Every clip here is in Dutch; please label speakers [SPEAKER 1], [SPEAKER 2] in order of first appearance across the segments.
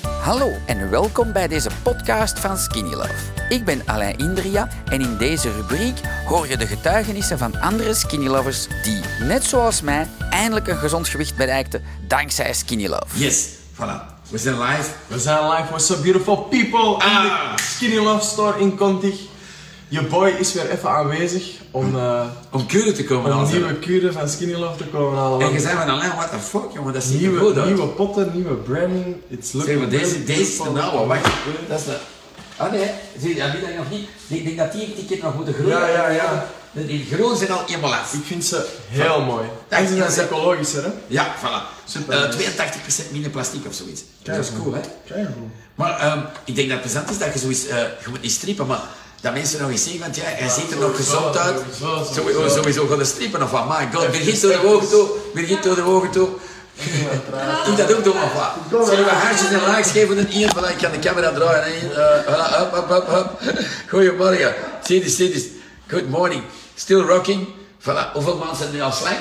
[SPEAKER 1] Hallo en welkom bij deze podcast van Skinny Love. Ik ben Alain Indria en in deze rubriek hoor je de getuigenissen van andere Skinny Lovers die, net zoals mij, eindelijk een gezond gewicht bereikten dankzij Skinny Love.
[SPEAKER 2] Yes, voilà. We zijn live.
[SPEAKER 3] We zijn live, what's up beautiful people? In
[SPEAKER 2] Ah.
[SPEAKER 3] de Skinny Love Store in Contig. Je boy is weer even aanwezig om eh,
[SPEAKER 2] Om keuren te komen
[SPEAKER 3] een
[SPEAKER 2] halen.
[SPEAKER 3] nieuwe cure van Skinny Love te komen halen.
[SPEAKER 2] En
[SPEAKER 3] Want
[SPEAKER 2] je zei van Alain, what the fuck jongen, dat ziet er goed
[SPEAKER 3] nieuwe,
[SPEAKER 2] uit.
[SPEAKER 3] nieuwe potten, nieuwe branding. It's looking
[SPEAKER 2] Zeg maar, deze,
[SPEAKER 3] really
[SPEAKER 2] deze is nou de
[SPEAKER 3] beautiful.
[SPEAKER 2] nauwe, wacht. Dat is de... Ah nee, zie je, dat weet ik nog niet. Ik denk dat die een keer nog moeten groeien.
[SPEAKER 3] Ja, ja, ja.
[SPEAKER 2] De- Die groen zijn al eenmaal af.
[SPEAKER 3] Ik vind ze heel mooi.
[SPEAKER 2] Dank
[SPEAKER 3] En
[SPEAKER 2] je,
[SPEAKER 3] ze zijn
[SPEAKER 2] dank je.
[SPEAKER 3] ecologischer, hè?
[SPEAKER 2] Ja, voilà.
[SPEAKER 3] Super.
[SPEAKER 2] Eh, 82% minder plastic of zoiets. dat is
[SPEAKER 3] Kijk,
[SPEAKER 2] cool, hè?
[SPEAKER 3] Kijk goed.
[SPEAKER 2] Maar ehm, ik denk dat het plezant is dat je zoiets... eh je moet niet strippen, maar dat mensen nog eens zien, want ja, hij ziet er nog
[SPEAKER 3] sowieso,
[SPEAKER 2] gezond uit.
[SPEAKER 3] sowieso, sowieso.
[SPEAKER 2] Sowieso, sowieso gaan de strippen of wat. My god,
[SPEAKER 3] Even
[SPEAKER 2] Birgit door de
[SPEAKER 3] steekjes.
[SPEAKER 2] ogen toe. Birgit door de ogen toe. Doe dat ook doen of wat. Zullen we hartjes en likes geven en hier, voilà, ik kan de camera draaien. en hier, eh, voilà, hup, hup, hup, hup. Goedemorgen. Zie dit, zie dit. Good morning. Still rocking. Voilà, hoeveel maanden zijn er nu al slang?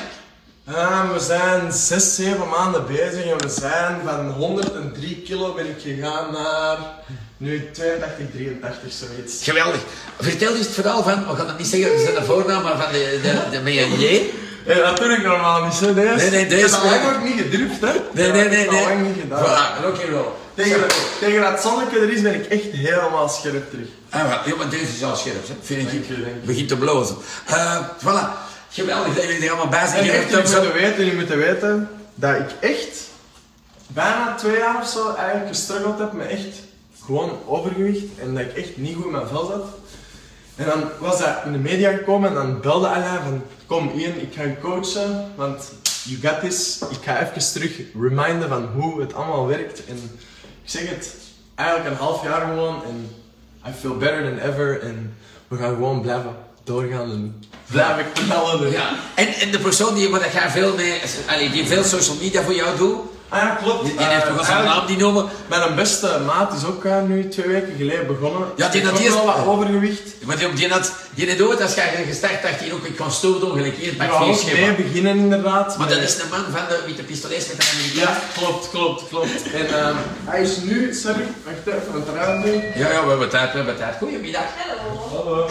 [SPEAKER 3] Ah, we zijn 6, 7 maanden bezig en we zijn van 103 kilo ben ik gegaan naar nu 82, 83 zoiets.
[SPEAKER 2] Geweldig. Vertel eens het verhaal van, we gaan het niet zeggen, ze zijn de voornaam, maar van de, de, de, met een J.
[SPEAKER 3] Hé, dat doe ik normaal niet, hè, deze.
[SPEAKER 2] Nee, nee, deze
[SPEAKER 3] Ik heb dat
[SPEAKER 2] werkt.
[SPEAKER 3] lang ook niet gedurfd, hè?
[SPEAKER 2] Nee, nee,
[SPEAKER 3] Ik
[SPEAKER 2] nee,
[SPEAKER 3] heb dat
[SPEAKER 2] nee.
[SPEAKER 3] lang niet gedaan.
[SPEAKER 2] Voilà, rock and roll.
[SPEAKER 3] Tegen, dat- tegen dat zonnetje er is ben ik echt helemaal scherp terug.
[SPEAKER 2] Ah, wel, ja, maar deze is al scherp, hè. vind
[SPEAKER 3] Dank
[SPEAKER 2] ik.
[SPEAKER 3] je, dank je.
[SPEAKER 2] Begint te blozen. Eh, voilà. Geweldig dat jullie er allemaal bij zijn.
[SPEAKER 3] En
[SPEAKER 2] Je hebt
[SPEAKER 3] jullie
[SPEAKER 2] thumbs
[SPEAKER 3] moeten
[SPEAKER 2] up.
[SPEAKER 3] weten, jullie moeten weten dat ik echt bijna twee jaar of zo eigenlijk gestruggeld heb met echt gewoon overgewicht en dat ik echt niet goed in mijn vel zat. En dan was dat in de media gekomen en dan belde Alain van kom Ian, ik ga je coachen, want you got this. Ik ga even terug reminden van hoe het allemaal werkt. En ik zeg het, eigenlijk een half jaar gewoon en I feel better than ever en we gaan gewoon blijven doorgaan en blijven knallen.
[SPEAKER 2] Ja. En, en de persoon die, wat jij veel mee, allee, die veel social media voor jou doet,
[SPEAKER 3] Ah ja, klopt.
[SPEAKER 2] die, die heeft
[SPEAKER 3] Eh,
[SPEAKER 2] toch wel zijn naam
[SPEAKER 3] eigenlijk,
[SPEAKER 2] die noemen.
[SPEAKER 3] Mijn beste maat is ook eh, nu twee weken geleden begonnen.
[SPEAKER 2] Ja, die dat
[SPEAKER 3] ook
[SPEAKER 2] eerst-
[SPEAKER 3] wel wat overgewicht.
[SPEAKER 2] Want die, die had, die had ooit, als jij gestart dacht, die ook, ik kan stoer doen, gelijk hier,
[SPEAKER 3] Ik
[SPEAKER 2] pak
[SPEAKER 3] wou
[SPEAKER 2] vier
[SPEAKER 3] ook mee
[SPEAKER 2] schema.
[SPEAKER 3] beginnen inderdaad.
[SPEAKER 2] Maar
[SPEAKER 3] met-
[SPEAKER 2] dat is de man van de witte pistolees met een Amerikaan.
[SPEAKER 3] Ja, klopt, klopt, klopt. En ehm, hij is nu, sorry, wacht even, want raam nu.
[SPEAKER 2] Ja, ja, we hebben tijd, we hebben tijd. Goedemiddag.
[SPEAKER 3] Hallo.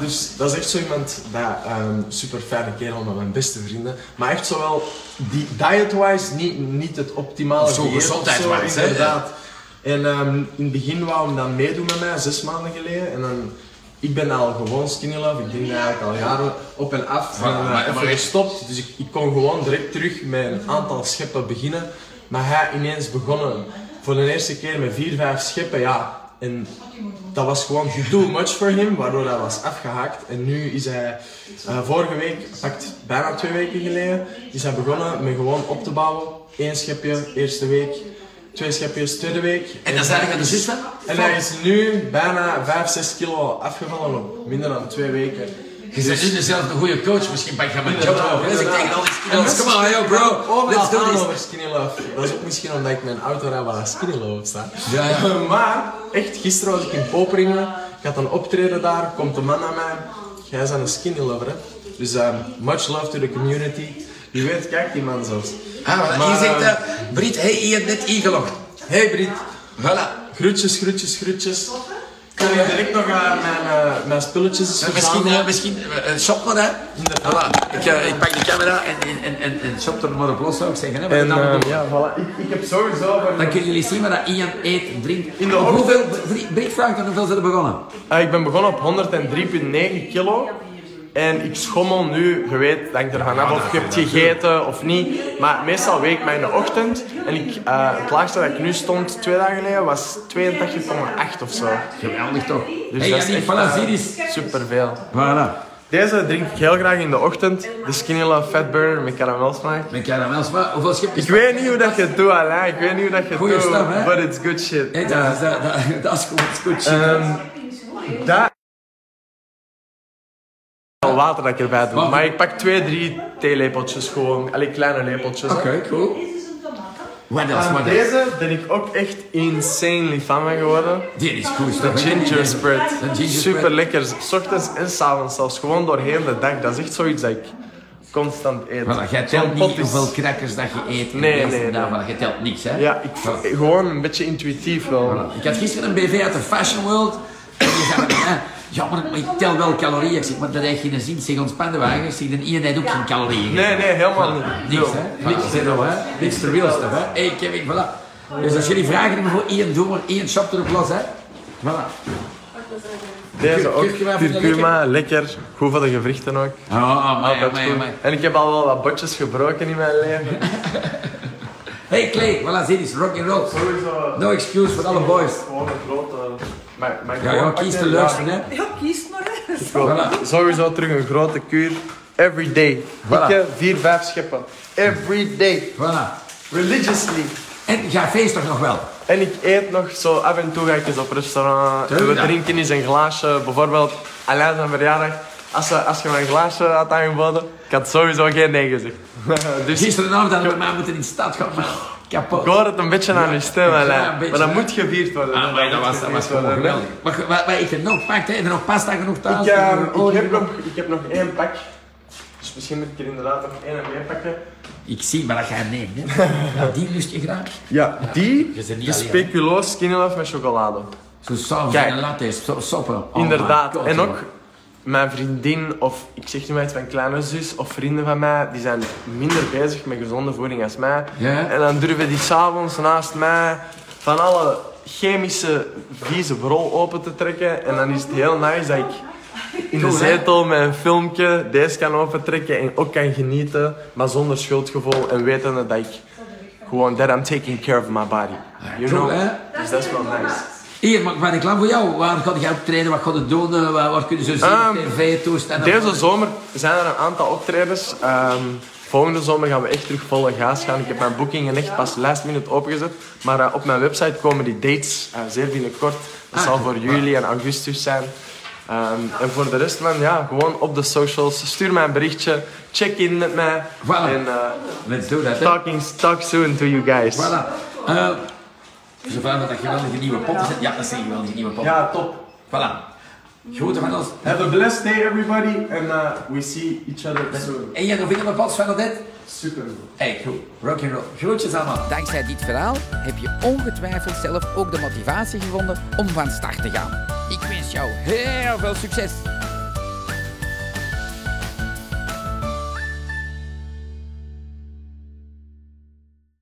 [SPEAKER 3] dus dat is echt zo iemand, dat, ehm super fijne kerel met mijn beste vrienden. Maar echt zowel die diet-wise niet, niet het optimale
[SPEAKER 2] Of zo
[SPEAKER 3] dieet of
[SPEAKER 2] gezondheidswise,
[SPEAKER 3] zo,
[SPEAKER 2] hè,
[SPEAKER 3] Inderdaad. En ehm, in het begin wou hem dan meedoen met mij, zes maanden geleden. En dan, ik ben al gewoon skinny love, ik denk dat eigenlijk al jaren op en af.
[SPEAKER 2] Voilà,
[SPEAKER 3] en, eh,
[SPEAKER 2] maar-
[SPEAKER 3] even
[SPEAKER 2] maar echt-
[SPEAKER 3] gestopt, dus ik, ik kon gewoon direct terug met een aantal scheppen beginnen. Maar hij ineens begonnen voor de eerste keer met vier, vijf scheppen, ja. En dat was gewoon too much voor hem, waardoor hij was afgehaakt. En nu is hij, eh, vorige week, pakt bijna twee weken geleden, is hij begonnen met gewoon op te bouwen. Eén schepje, eerste week. Twee schepjes, tweede week.
[SPEAKER 2] En dat is eigenlijk aan de zus van?
[SPEAKER 3] En hij is nu bijna 5, 6 kilo afgevallen op minder dan twee weken.
[SPEAKER 2] Je bent nu zelf een goede coach, misschien pak je mijn job
[SPEAKER 3] Inderdaad,
[SPEAKER 2] over. Dus ik
[SPEAKER 3] Dus- inderdaad.
[SPEAKER 2] tegen al die
[SPEAKER 3] En
[SPEAKER 2] skills.
[SPEAKER 3] mensen
[SPEAKER 2] Come on, yo bro,
[SPEAKER 3] overal
[SPEAKER 2] let's do
[SPEAKER 3] aan
[SPEAKER 2] this.
[SPEAKER 3] over Skinny Love. Dat is ook misschien omdat ik mijn auto rijd waar Skinny Love op staat. Eh,
[SPEAKER 2] Ja, ja.
[SPEAKER 3] maar echt, gisteren was ik in Poperingen. Ik had een optreden daar, komt een man naar mij. Jij bent een Skinny Lover, hè? Dus ehm, much love to the community. Je weet, kijk die man zelfs.
[SPEAKER 2] Ah, voilà.
[SPEAKER 3] Maar,
[SPEAKER 2] Hier zegt
[SPEAKER 3] ehm,
[SPEAKER 2] eh, Brit, hey, hier net ingelogd.
[SPEAKER 3] Hey Brit,
[SPEAKER 2] Voilà.
[SPEAKER 3] groetjes, groetjes, groetjes. Ik kan je direct nog aan mijn, eh, mijn spulletjes
[SPEAKER 2] Maar Misschien,
[SPEAKER 3] verzamelen.
[SPEAKER 2] eh, misschien eh, eh, shop maar, hè. Voilà. Ik, eh, ik pak de camera en, en, en, en, en shop er maar op los, zou ik zeggen. Hè.
[SPEAKER 3] En
[SPEAKER 2] Want dan,
[SPEAKER 3] ehm, ja, voilà. Ik, ik heb sowieso... voor-
[SPEAKER 2] dan kunnen jullie zien wat dat Ian eet en drinkt.
[SPEAKER 3] In de
[SPEAKER 2] Op hoeveel, Brit vraagt dan hoeveel ze er begonnen.
[SPEAKER 3] Ah, ik ben begonnen op 103,9 kilo. En ik schommel nu, je weet, denk er vanaf of je hebt gegeten of niet. Maar meestal week ik mij in de ochtend. En ik, eh, het laagste dat ik nu stond, twee dagen geleden, was 82,8 of zo.
[SPEAKER 2] Geweldig toch?
[SPEAKER 3] Dus
[SPEAKER 2] hey,
[SPEAKER 3] dat is
[SPEAKER 2] Yannick,
[SPEAKER 3] echt
[SPEAKER 2] voilà, zie
[SPEAKER 3] eh,
[SPEAKER 2] eens.
[SPEAKER 3] superveel.
[SPEAKER 2] Voilà.
[SPEAKER 3] Deze drink ik heel graag in de ochtend. De Skinny Love Fat Burner met karamelsmaak.
[SPEAKER 2] Mijn caramels, maar hoeveel schipjes?
[SPEAKER 3] Ik weet niet hoe dat je het doet, Alain. Ik weet niet hoe dat je het
[SPEAKER 2] Goeie
[SPEAKER 3] doet.
[SPEAKER 2] stuff, hè?
[SPEAKER 3] But it's good shit.
[SPEAKER 2] Hey, dat, is, dat, dat, dat is goed, dat is goed shit.
[SPEAKER 3] Ehm, daar. Al water dat ik erbij doe.
[SPEAKER 2] Water.
[SPEAKER 3] Maar ik pak twee, drie theelepeltjes gewoon. Allee, kleine lepeltjes. hè.
[SPEAKER 2] Oké, cool. Wat else, wat else?
[SPEAKER 3] Ah, Deze ben ik ook echt insanely fan van geworden.
[SPEAKER 2] Dit is goed, dat
[SPEAKER 3] Ginger spread.
[SPEAKER 2] Een ginger spread.
[SPEAKER 3] Super lekker. S ochtends en s avonds zelfs. Gewoon doorheen de dag. Dat is echt zoiets dat ik constant eten.
[SPEAKER 2] Voilà, jij
[SPEAKER 3] Zo'n
[SPEAKER 2] telt
[SPEAKER 3] pot
[SPEAKER 2] niet
[SPEAKER 3] is-
[SPEAKER 2] hoeveel crackers dat je eet. en
[SPEAKER 3] Nee,
[SPEAKER 2] dit en
[SPEAKER 3] nee,
[SPEAKER 2] dat.
[SPEAKER 3] nee.
[SPEAKER 2] Voilà, jij telt niks, hè?
[SPEAKER 3] Ja, ik,
[SPEAKER 2] Voilà.
[SPEAKER 3] gewoon een beetje intuïtief wel.
[SPEAKER 2] Voilà. Ik had gisteren een BV uit de Fashion World. En die zei van, "Ja, ja, maar maar ik tel wel calorieën. Ik zeg, maar dat heeft geen zin. Zeg, ontspan de wagen. Ik Zeg, de ene heeft ook geen calorieën.
[SPEAKER 3] Nee, nee, helemaal niet.
[SPEAKER 2] Niks,
[SPEAKER 3] Nul.
[SPEAKER 2] hè? Niks zero, hè? Niks ter willen hè? Hé, hey, Kevin, voilà. Dus als jullie vragen hebben voor één doemer, één shop erop los, hè? Voilà.
[SPEAKER 3] Deze ook.
[SPEAKER 2] Kurkuma van de
[SPEAKER 3] Kurkuma, lekker. Goed voor de gewrichten ook.
[SPEAKER 2] Oh, man,
[SPEAKER 3] Altijd Ah, goed. En ik heb al wel wat botjes gebroken in mijn leven.
[SPEAKER 2] Hey, Clay, voilà, zie eens, rock and roll. No excuse voor alle boys.
[SPEAKER 3] Gewoon een grote... Maar, maar
[SPEAKER 2] Ja, ja, kies de leukste, hè?
[SPEAKER 4] Ja, kies maar. hè.
[SPEAKER 2] Voilà.
[SPEAKER 3] Sowieso terug een grote kuur. Every day.
[SPEAKER 2] Voilà.
[SPEAKER 3] Dikke vier, vijf scheppen. Every day.
[SPEAKER 2] Voilà.
[SPEAKER 3] Religiously.
[SPEAKER 2] En ga feest toch nog wel?
[SPEAKER 3] En ik eet nog zo af en toe ga ik eens op restaurant. En we
[SPEAKER 2] Tuurlijk.
[SPEAKER 3] drinken eens een glaasje. Bijvoorbeeld Alain zijn verjaardag. Als, ze- als je me een glaasje had aangeboden, ik had sowieso geen nee gezegd. dus ik
[SPEAKER 2] Gisteravond hadden we mij moeten in de stad gaan, man. Kapot.
[SPEAKER 3] hoor het een beetje aan je stem,
[SPEAKER 2] ja,
[SPEAKER 3] Alain.
[SPEAKER 2] een beetje,
[SPEAKER 3] maar dat
[SPEAKER 2] hè.
[SPEAKER 3] moet gevierd worden.
[SPEAKER 2] Ah, maar dat
[SPEAKER 3] moet
[SPEAKER 2] was, dat was
[SPEAKER 3] gevierd
[SPEAKER 2] gewoon
[SPEAKER 3] worden.
[SPEAKER 2] geweldig. Maar, ge- maar, maar ik heb nog pakt, hè? Heb je nog pasta genoeg thuis?
[SPEAKER 3] Ik, eh,
[SPEAKER 2] Heb je olie
[SPEAKER 3] ik, heb
[SPEAKER 2] genoeg?
[SPEAKER 3] nog, ik heb nog één pak. Dus misschien moet ik er inderdaad nog één en meer pakken.
[SPEAKER 2] Ik zie, maar dat ga je nemen, hè? Ja, die lust je graag.
[SPEAKER 3] Ja, die,
[SPEAKER 2] Je bent niet
[SPEAKER 3] de
[SPEAKER 2] alleen,
[SPEAKER 3] speculoos skinnyloaf met chocolade.
[SPEAKER 2] Zo'n saus
[SPEAKER 3] Kijk.
[SPEAKER 2] en een latte, so- soppen. Oh
[SPEAKER 3] Inderdaad.
[SPEAKER 2] my God,
[SPEAKER 3] en ook
[SPEAKER 2] jongen.
[SPEAKER 3] mijn vriendin, of ik zeg niet maar iets, mijn kleine zus of vrienden van mij, die zijn minder bezig met gezonde voeding als mij.
[SPEAKER 2] Ja.
[SPEAKER 3] En dan durven die s'avonds naast mij van alle chemische vieze brol open te trekken. En dan is het heel nice dat ik in de
[SPEAKER 2] Cool, hè?
[SPEAKER 3] zetel met een filmpje deze kan opentrekken en ook kan genieten, maar zonder schuldgevoel en wetende dat ik gewoon, that I'm taking care of my body. You
[SPEAKER 2] cool,
[SPEAKER 3] know?
[SPEAKER 2] hè?
[SPEAKER 3] Dus dat is wel nice.
[SPEAKER 2] Hier, maar ben ik klaar voor jou? Waar ga je optreden? Wat ga je doen? Eh, Waar, waar kunnen ze zien?
[SPEAKER 3] Ehm,
[SPEAKER 2] TV, toestanden?
[SPEAKER 3] Deze zomer zijn er een aantal optredens. Ehm, volgende zomer gaan we echt terug volle gaas gaan. Ik heb mijn boekingen echt pas last minute opengezet. Maar eh, op mijn website komen die dates eh, zeer binnenkort. Dat
[SPEAKER 2] Ah.
[SPEAKER 3] zal voor juli en augustus zijn. Ehm, en voor de rest, man, ja, gewoon op de socials. Stuur mij een berichtje. Check in met mij.
[SPEAKER 2] Voilà.
[SPEAKER 3] En eh,
[SPEAKER 2] Let's do that, hè?
[SPEAKER 3] talking, talk soon to you guys.
[SPEAKER 2] Voilà. Eh ze vragen dat dat geweldige nieuwe poppen zijn. Ja, dat zijn geweldige nieuwe poppen.
[SPEAKER 3] Ja, top.
[SPEAKER 2] Voilà. Groeten van ons.
[SPEAKER 3] Have a blessed day, everybody. And uh, we see each other soon.
[SPEAKER 2] En jij nog in mijn pas van dit?
[SPEAKER 3] Super.
[SPEAKER 2] Hey, goed. Rock and roll. Groetjes allemaal.
[SPEAKER 1] Dankzij dit verhaal heb je ongetwijfeld zelf ook de motivatie gevonden om van start te gaan. Ik wens jou heel veel succes!